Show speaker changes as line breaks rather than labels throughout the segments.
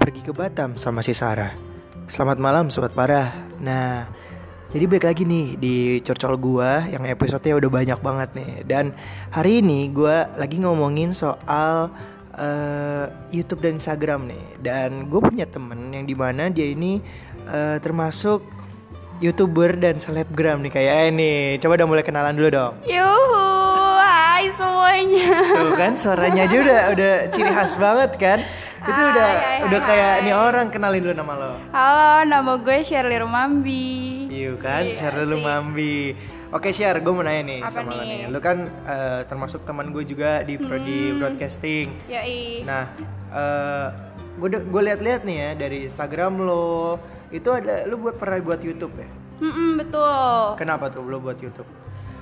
Pergi ke Batam sama si Sarah. Selamat malam sobat parah. Nah, jadi balik lagi nih di Corcol gua yang episodenya udah banyak banget nih. Dan hari ini gua lagi ngomongin soal eh, YouTube dan Instagram nih. Dan gue punya temen yang dimana dia ini eh, termasuk youtuber dan selebgram nih kayak ini. Coba dong mulai kenalan dulu dong.
Yuhu, hai semuanya.
Tuh kan suaranya aja udah udah ciri khas banget kan. Itu
Hai,
udah
hai,
udah
hai,
kayak
hai.
nih orang kenalin dulu nama lo.
Halo, nama gue Shirley Rumambi.
Iya kan,
Iya
Charlie
sih.
Lumambi. Oke, Syar, gue mau nanya nih
Apa
sama lo
nih?
nih. Lo kan eh, termasuk teman gue juga di
Hmm.
prodi broadcasting.
Yoi.
Nah, gue gue lihat-lihat nih ya dari Instagram lo, itu ada lo buat pernah buat YouTube ya?
Mm-mm, betul.
Kenapa tuh lo buat YouTube?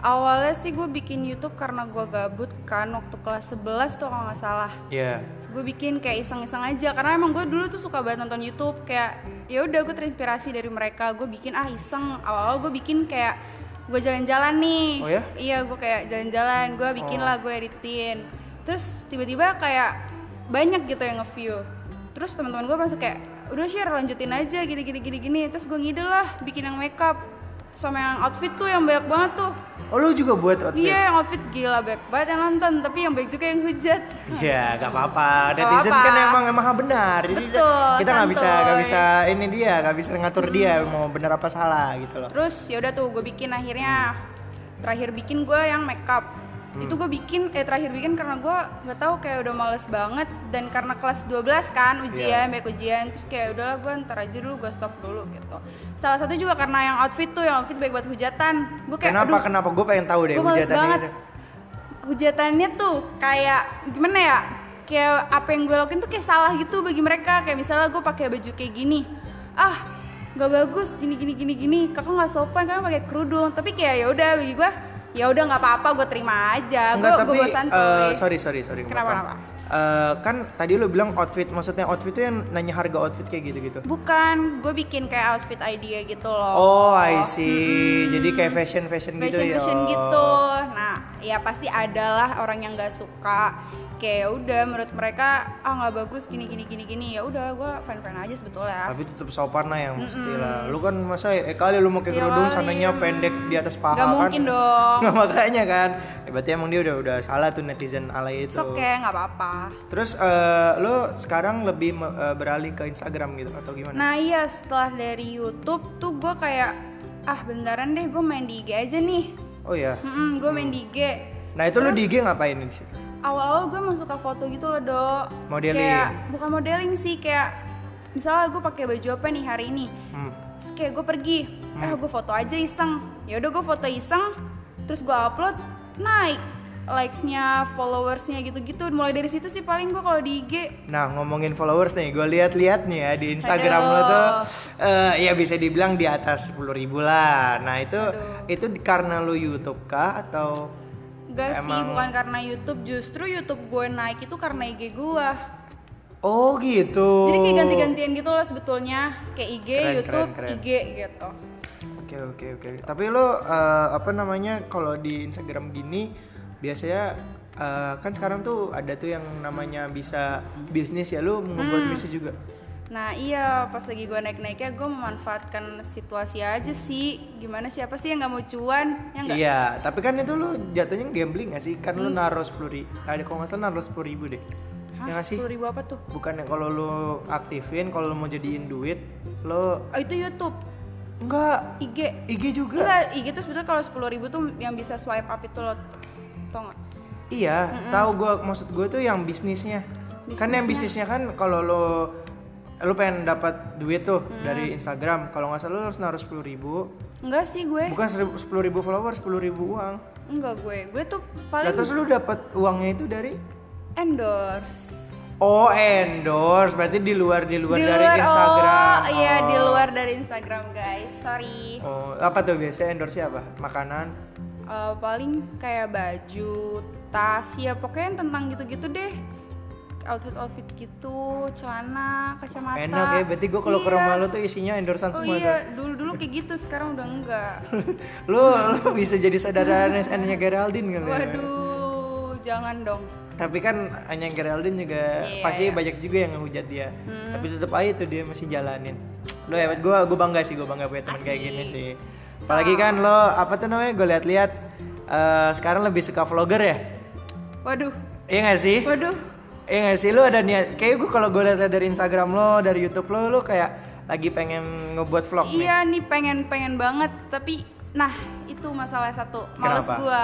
Awalnya sih gue bikin YouTube karena gue gabut kan waktu kelas 11 tuh kalau nggak salah.
Iya.
Terus gue bikin kayak iseng-iseng aja karena emang gue dulu tuh suka banget nonton YouTube kayak ya udah gue terinspirasi dari mereka. Gue bikin ah iseng. Awal-awal gue bikin kayak gue jalan-jalan nih.
Oh ya? Oh.
Iya, gue kayak jalan-jalan. Gue bikin lah gue editin. Terus tiba-tiba kayak banyak gitu yang nge-view. Terus teman-teman gue masuk kayak udah share lanjutin aja gini gini gini gini. Terus gue ngide lah bikin yang makeup sama yang outfit tuh yang banyak banget tuh.
Oh, lo juga buat outfit?
Iya yang outfit gila banyak banget yang nonton tapi yang baik juga yang hujat.
Iya, gak apa-apa.
Gak
Netizen
apa-apa.
kan emang emang benar. Jadi
Betul,
kita nggak bisa nggak
santuy. Hmm.
bisa ini dia, nggak bisa ngatur dia mau benar apa salah gitu loh.
Terus ya udah tuh gue bikin akhirnya terakhir bikin gue yang makeup.
Hmm.
Itu gue bikin eh terakhir bikin karena gue nggak tahu kayak udah males banget dan karena kelas 12
Iya.
kan ujian banyak ujian terus kayak "Ya udahlah gue ntar aja dulu gue stop dulu gitu. Salah satu juga karena yang outfit tuh yang outfit baik buat hujatan. Gue kayak
kenapa
aduh
kenapa gue pengen tahu deh
gue males
hujatannya
banget
itu.
hujatannya tuh kayak gimana ya kayak apa yang gue lakuin tuh kayak salah gitu bagi mereka kayak misalnya gue pakai baju kayak gini ah nggak bagus gini gini gini gini kakak nggak sopan kakak pakai kerudung tapi kayak ya udah bagi gue ya udah nggak apa-apa gue terima aja gue
Enggak,
gue
tapi
bosan tuh
eh, sorry sorry sorry
Kenapa,
kebakar.
kenapa?
Eh, kan tadi lo bilang outfit maksudnya outfit tuh yang nanya harga outfit kayak gitu gitu
bukan gue bikin kayak outfit idea gitu loh
oh I see jadi kayak fashion fashion, gitu
fashion
ya
fashion
Oh.
gitu nah ya pasti adalah orang yang nggak suka kayak ya udah menurut mereka ah nggak bagus gini gini gini gini ya udah gue fan fan aja sebetulnya
tapi tetap sopan lah yang mesti lah lu kan masa eh kali lu pakai
Iya
kerudung
kali,
sananya pendek di atas paha
nggak
kan
mungkin dong
Nggak, makanya kan Eh, berarti emang dia udah udah salah tuh netizen alay itu
oke nggak apa apa
terus eh, lo sekarang lebih me- eh, beralih ke Instagram gitu atau gimana
nah iya setelah dari YouTube tuh gue kayak ah bentaran deh gue main di IG aja nih
oh ya
gue main di IG
nah itu lu di IG ngapain di situ
awal-awal gue masuk ke foto gitu loh dok
Modeling.
kayak bukan modeling sih kayak misalnya gue pakai baju apa nih hari ini
Hmm.
terus kayak gue pergi eh gue foto aja iseng ya udah gue foto iseng terus gue upload naik likesnya followersnya gitu-gitu mulai dari situ sih paling gue kalau di IG
Nah ngomongin followers nih, gue lihat-lihat nih ya di Instagram lo tuh, eh, ya bisa dibilang di atas 10.000 ribu lah. Nah itu itu di- karena lo YouTube kah atau
Gak sih bukan karena YouTube justru YouTube gue naik itu karena IG gue
oh gitu?
jadi kayak ganti-gantian gitu loh sebetulnya kayak IG
Keren,
YouTube
keren, keren.
IG gitu
Oke oke oke. Tapi lo eh, apa namanya kalau di Instagram gini biasanya eh, kan sekarang tuh ada tuh yang namanya bisa bisnis ya lo membuat
Hmm.
bisnis juga.
Nah iya pas lagi gue naik-naiknya gue memanfaatkan situasi aja sih Gimana siapa sih yang gak mau cuan Ya enggak? Hmm.
Iya, tapi kan itu lo jatuhnya gambling gak sih? Kan lo naruh sepuluh ribu, ada kalau nggak salah naruh sepuluh ribu deh. Ya nggak sih?
ribu apa tuh?
Bukannya kalau lo aktifin, kalau lo mau jadiin duit, lo
Oh itu Youtube,
enggak
IG
IG juga.
Enggak, IG tuh sebetulnya kalau 10.000 ribu tuh yang bisa swipe up itu lo Tau gak?
Iya, tahu gua maksud gue tuh yang bisnisnya. Kan yang bisnisnya kan kalau lo lo pengen dapat duit tuh dari Instagram, kalau nggak salah lo harus naruh sepuluh ribu,
Enggak sih gue,
bukan sepuluh ribu follower, sepuluh ribu uang.
enggak gue Gue tuh
Nah,
paling
terus lo dapat uangnya itu dari
endorse
Oh endorse, berarti di luar di luar,
Di
dari
luar,
Instagram.
oh iya di luar dari Instagram guys, sorry
Oh, apa tuh biasanya endorse apa? Makanan.
Eh, Paling kayak baju, tas, ya pokoknya yang tentang gitu-gitu deh outfit outfit gitu celana kacamata
Enak ya, berarti gue kalau ke
Iya.
rumah lo tuh isinya endorsean
oh
semua
iya
tuh.
dulu dulu kayak gitu sekarang udah enggak
Lo, lo bisa jadi saudara Anya Geraldine kali ya.
waduh jangan dong
Tapi kan Anya Geraldine juga
Iya,
pasti
iya. Hmm.
banyak juga yang ngehujat dia. Tapi tetap aja tuh dia masih jalanin. Lo hebat gue, gue bangga sih, gue bangga punya teman kayak
Asik.
gini sih. Apalagi kan lo apa tuh namanya? Gue lihat-lihat eh, sekarang lebih suka vlogger ya.
waduh
Iya gak sih?
waduh
Iya gak sih? Lo ada niat? Kayaknya gue kalau gue lihat dari Instagram lo, dari YouTube lo, lo kayak lagi pengen ngebuat vlog nih.
Iya nih pengen pengen banget tapi nah itu masalah satu males
Kenapa?
gua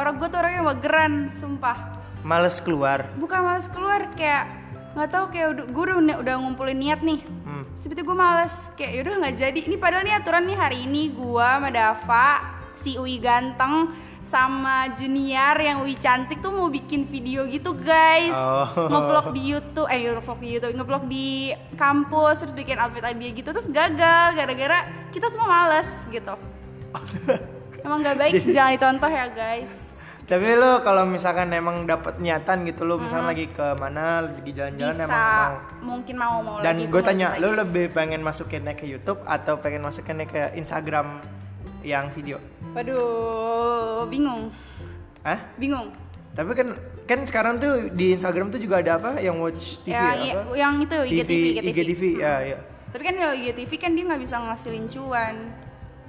orang gua tuh orangnya mageran sumpah
Males keluar.
bukan males keluar kayak nggak tahu kayak udah, gua udah, udah ngumpulin niat nih
Hmm.
Terus tiba-tiba gue males kayak yaudah nggak jadi ini padahal nih aturan nih hari ini gua sama Dava si Uwi ganteng sama Junior yang Uwi cantik tuh mau bikin video gitu guys
Oh.
ngevlog di YouTube eh ngevlog di YouTube ngevlog di kampus terus bikin outfit idea gitu terus gagal gara-gara kita semua males gitu emang nggak baik jangan dicontoh ya guys
Tapi lo kalau misalkan emang dapat niatan gitu lo misalkan lagi ke mana lagi jalan-jalan
bisa
emang mau.
mungkin mau mau
Dan
lagi,
gue
mau
tanya,
lanjut
lo
lagi.
lebih pengen masukinnya ke YouTube atau pengen masukinnya ke Instagram yang video?
waduh bingung
Hah?
bingung
Tapi kan kan sekarang tuh di Instagram tuh juga ada apa yang watch TV
yang,
ya, apa?
yang iya. itu IGTV,
IGTV, ya, ya.
Tapi kan kalau IGTV kan dia nggak bisa ngasilin cuan.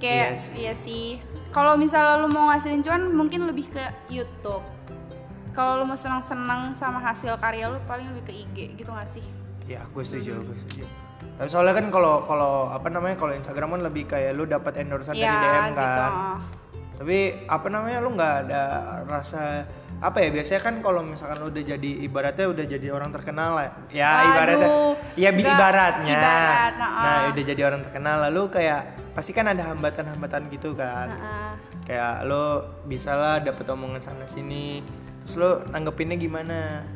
Iya
Kayak
sih.
iya sih. Kalau misalnya lu mau ngasilin cuan mungkin lebih ke YouTube. Kalau lu mau senang-senang sama hasil karya lu paling lebih ke IG gitu nggak sih?
Ya, gue setuju, gue setuju. Tapi soalnya kan kalau kalau apa namanya kalau Instagram kan lebih kayak lu dapat endorsean
Iya,
dari DM
gitu.
kan. tapi apa namanya lu nggak ada rasa apa ya biasanya kan kalau misalkan lu udah jadi ibaratnya udah jadi orang terkenal lah ya
Aduh,
ibaratnya ya bi-
nggak-
ibaratnya
ibarat, nah,
nah
ah.
udah jadi orang terkenal lalu kayak pasti kan ada hambatan-hambatan gitu kan
Heeh.
kayak lu bisa lah dapet omongan sana sini terus lu nanggepinnya gimana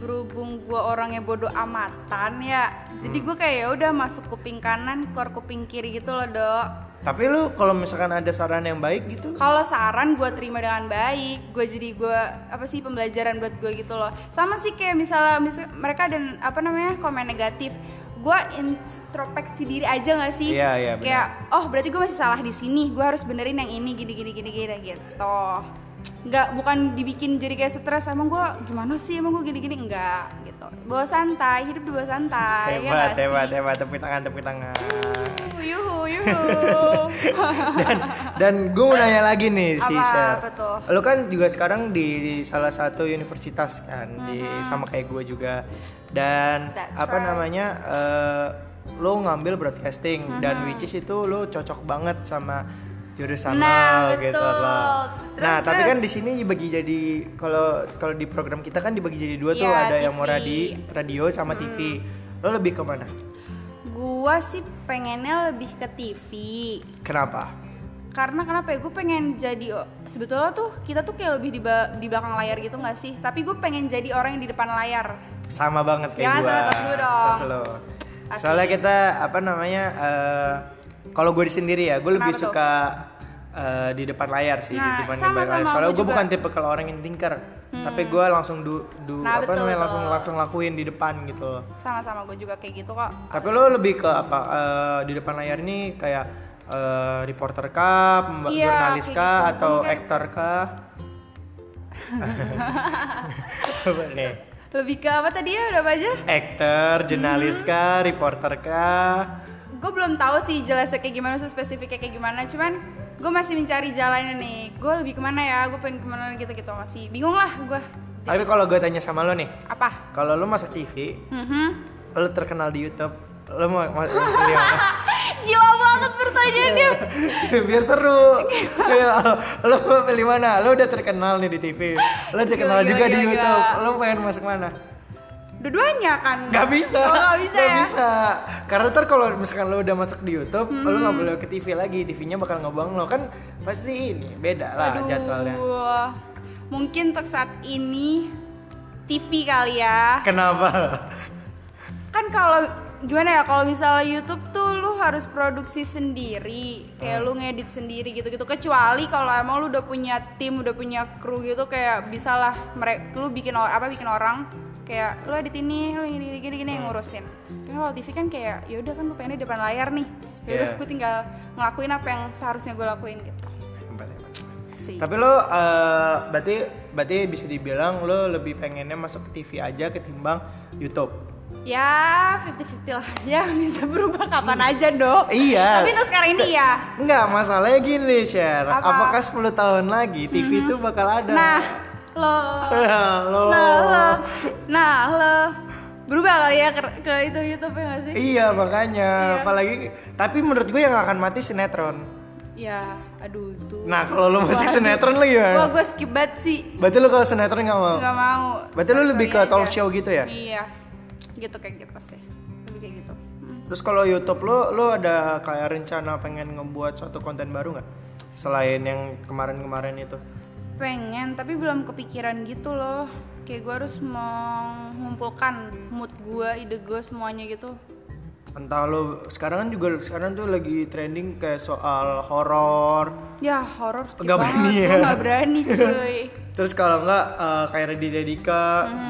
berhubung gue orangnya bodoh amatan ya jadi
Hmm.
gue kayak ya udah masuk kuping kanan keluar kuping kiri gitu loh dok
tapi lu kalau misalkan ada saran yang baik gitu
kalau saran gue terima dengan baik gue jadi gue apa sih pembelajaran buat gue gitu loh sama sih kayak misalnya misal- mereka dan apa namanya komen negatif gue introspeksi diri aja nggak sih
Iya, iya, benar.
kayak oh berarti gue masih salah di sini gue harus benerin yang ini gini gini gini gini gitu nggak bukan dibikin jadi kayak stres emang gue gimana sih emang gue gini gini enggak gitu bawa santai hidup di bawah santai ya
hebat
nggak
hebat
sih?
hebat tepuk tangan tepuk tangan
yuhu yuhu
Dan gue mau nanya lagi nih si
Apa-
Sher.
apa tuh?
Lo kan juga sekarang di salah satu universitas kan, di sama kayak gue juga. Dan
Mm-hmm. That's
apa
right.
namanya? eh, lo ngambil broadcasting
Mm-hmm.
dan which is itu lo cocok banget sama jurusan
Nah,
lo gitu
betul.
loh.
Terus,
Nah, tapi kan
terus.
di sini dibagi jadi kalau kalau di program kita kan dibagi jadi dua tuh,
Iya, Mm.
ada yang mau
TV.
radi, radio sama TV. Lo lebih ke mana?
Gua sih pengennya lebih ke TV
Kenapa?
karena kenapa ya gue pengen jadi o- sebetulnya tuh kita tuh kayak lebih di, ba- di belakang layar gitu nggak sih tapi gue pengen jadi orang yang di depan layar
sama banget kayak
Jangan
gua.
sama tas lu dong.
Tas lu.
Asik.
Soalnya kita apa namanya? eh, kalau gue sendiri ya, gue lebih
Kenapa tuh?
suka eh, di depan layar sih,
Nah,
cuman di
sama-sama,
depan layar.
gua
Soalnya gue
juga. Hmm.
bukan tipe kalau orang yang tinker, tapi gue langsung du, du-
Nah,
apa
betul,
namanya langsung
betul.
langsung lakuin di depan gitu. loh.
sama-sama gue juga kayak gitu kok
Tapi lo lebih ke apa? eh, di depan layar ini kayak eh, reporter kah, pemba-
Iya,
jurnalis
kayak
kah,
gitu.
atau
Mungkin-
aktor kah? Apa nih?
lebih ke apa tadi ya udah apa aja
Aktor,
Hmm.
jurnalis kah, reporter kah?
gue belum tahu sih jelasnya kayak gimana maksudnya spesifiknya kayak gimana cuman gue masih mencari jalannya nih gue lebih kemana ya gue pengen kemana gitu gitu masih bingung lah gue
Tapi kalau gue tanya sama lo nih,
apa
kalau lo masuk TV,
Mhm.
lo terkenal di YouTube, lo mau mau pilih apa?
gila banget pertanyaannya
Biar seru. Ayo, lo mau pilih mana? Lo udah terkenal nih di TV, lo terkenal
Gila, gila,
juga di
gila, gila.
YouTube, lo pengen masuk mana?
dua-duanya kan
Gak bisa,
oh, gak bisa ya
bisa. Karena ntar kalau misalkan lo udah masuk di YouTube, lo nggak
Hmm.
boleh ke TV lagi, TV-nya bakal ngebuang lo kan pasti ini beda lah
Aduh,
jadwalnya.
Mungkin untuk saat ini TV kali ya.
Kenapa?
Kan kalau gimana ya kalau misalnya YouTube tuh lu harus produksi sendiri, kayak lu ngedit sendiri gitu-gitu. Kecuali kalau emang lu udah punya tim, udah punya kru gitu kayak bisalah mereka lu bikin or- apa bikin orang kayak lu edit ini lu gini gini gini, gini yang ngurusin tapi kalau TV kan kayak ya udah kan gue pengen di depan layar nih ya udah
Iya.
gue tinggal ngelakuin apa yang seharusnya gue lakuin gitu
Hebat, hebat.
sih
Tapi lo eh, berarti berarti bisa dibilang lo lebih pengennya masuk ke TV aja ketimbang YouTube.
ya 50-50 lah ya bisa berubah kapan aja dok
Iya.
tapi untuk sekarang ini ya
Enggak, masalahnya gini, Sher.
Apa?
Apakah 10 tahun lagi TV itu bakal ada? Ya,
nah lo
Lo.
nah lo nah lo berubah kali ya ke, ke itu YouTube ya gak sih
Iya, makanya. Apalagi tapi menurut gue yang akan mati sinetron.
ya aduh tuh
Nah, kalau lo masih
Waduh.
sinetron lo
Wah,
gimana?
gue skip banget sih.
Berarti lo kalau sinetron nggak mau?
Gak mau.
Oh. Berarti lu
Sorry,
lebih
sorry
ke talk
aja.
show gitu ya?
Iya. Gitu kayak gitu sih. Lebih kayak gitu.
Terus kalau YouTube lo, lo ada kayak rencana pengen ngebuat suatu konten baru nggak? Selain yang kemarin-kemarin itu.
Pengen tapi belum kepikiran gitu loh. Kayak gue harus mengumpulkan mood gue, ide gue semuanya gitu.
Entah lo sekarang kan juga sekarang tuh lagi trending kayak soal horor.
Ya horor skip
Nggak
banget.
berani
Gue
ya.
gak berani cuy.
Terus kalau nggak eh, kayak Raditya Dika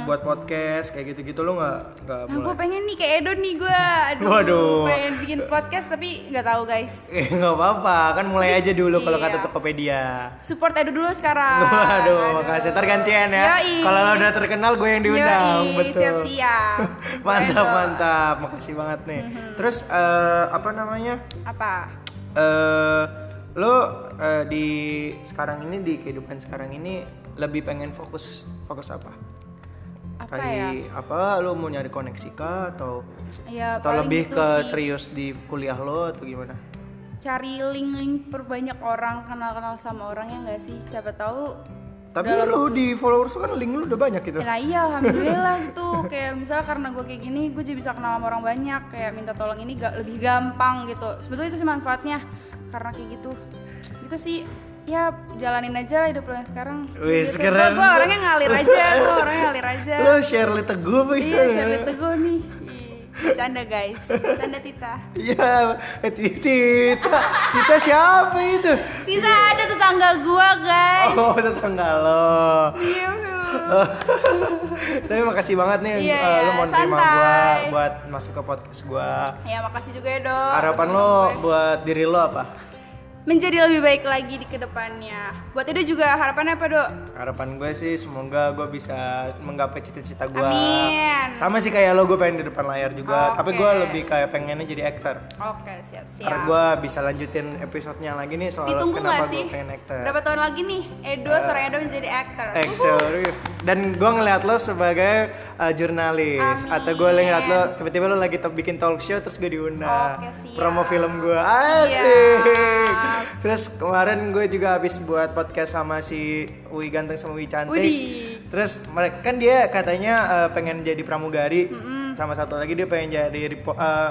buat podcast kayak gitu-gitu lo nggak nggak
Nah,
mulai.
gue pengen nih kayak Edo nih gue. Aduh,
Waduh.
Pengen bikin podcast tapi nggak tahu guys.
Eh, nggak apa-apa, kan mulai aja dulu kalau kata
Iya.
Tokopedia.
Support Edo dulu sekarang.
Waduh, makasih. Ntar gantian ya.
Yoi.
Kalau lo udah terkenal gue yang diundang,
Yoi,
betul.
Siap-siap.
mantap,
Edo.
mantap. Makasih banget nih.
Mm-hmm.
Terus eh, apa namanya?
Apa?
Eh lo eh, di sekarang ini di kehidupan sekarang ini lebih pengen fokus fokus apa?
Apa
Lagi apa? Lo mau nyari koneksi kah atau
Ya,
atau
paling
lebih
gitu
ke
sih,
serius di kuliah lo atau gimana?
cari link-link perbanyak orang kenal-kenal sama orang ya nggak sih siapa tahu
Tapi lo di followers lo kan link lo udah banyak gitu.
ya lah iya alhamdulillah gitu kayak misalnya karena gue kayak gini gue jadi bisa kenal sama orang banyak kayak minta tolong ini gak lebih gampang gitu sebetulnya itu sih manfaatnya karena kayak gitu itu sih ya jalanin aja lah hidup lo yang sekarang
Wis,
Gitu. Gua-
keren.
gua orangnya ngalir aja gue orangnya ngalir aja
Lo share teguh apa gitu?
iya
gimana?
Shirley Teguh nih Ih, canda guys canda Tita
Iya, eh, Tita. Tita siapa itu?
Tita ada tetangga gua guys
Oh, tetangga lo.
Iya.
Tapi makasih banget nih
Iya,
eh, lo
iya,
mau nerima gua
santai.
buat masuk ke podcast gua.
Ya makasih juga ya dok.
Harapan
Untuk
lo
teman gue.
buat diri lo apa?
menjadi lebih baik lagi di kedepannya. Buat Edo juga harapannya apa dok?
Harapan gue sih semoga gue bisa menggapai cita-cita gue.
Amin. Oh,
Sama sih kayak lo, gue pengen di depan layar juga. Tapi gue
Oke.
lebih kayak pengennya jadi aktor.
Oke siap
Karena
siap.
gue bisa lanjutin episodenya lagi nih soal
Ditunggu nggak
kenapa
sih?
gue pengen aktor.
Berapa tahun lagi nih Edo
Eh,
seorang Edo menjadi aktor?
Actor. Dan gue ngeliat lo sebagai uh, jurnalis
Amin.
atau gue ngeliat lo tiba-tiba lo lagi to- bikin talk show terus gue diundang
Oke, siap. Iya.
promo film gue asik. Terus kemarin gue juga habis buat podcast sama si Wi ganteng sama Wi cantik.
Widih.
Terus mereka kan dia katanya uh, pengen jadi pramugari sama satu lagi dia pengen jadi repo- uh,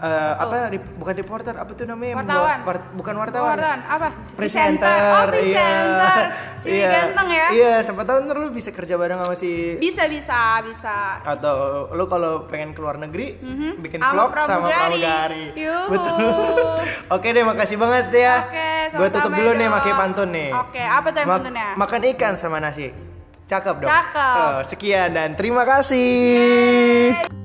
uh, apa rep- bukan reporter apa tuh namanya yang
Oh. Wartawan.
buat part- bukan wartawan
Orang apa?
presenter, iya.
Oh presenter. Si
Iya.
ganteng ya.
iya siapa tahu ntar lu bisa kerja bareng sama si
Bisa bisa bisa.
atau lu kalau pengen keluar negeri bikin
Mhm. Sama
vlog sama
pramugari.
pramugari
Yuhu.
betul oke deh makasih banget ya
Oke,
gue tutup
sama-sama,
dulu nih
Dok.
pakai pantun nih
Oke, apa tuh yang
Ma-
pantunnya?
makan ikan sama nasi cakep dong
Cakep.
Oh, sekian dan terima kasih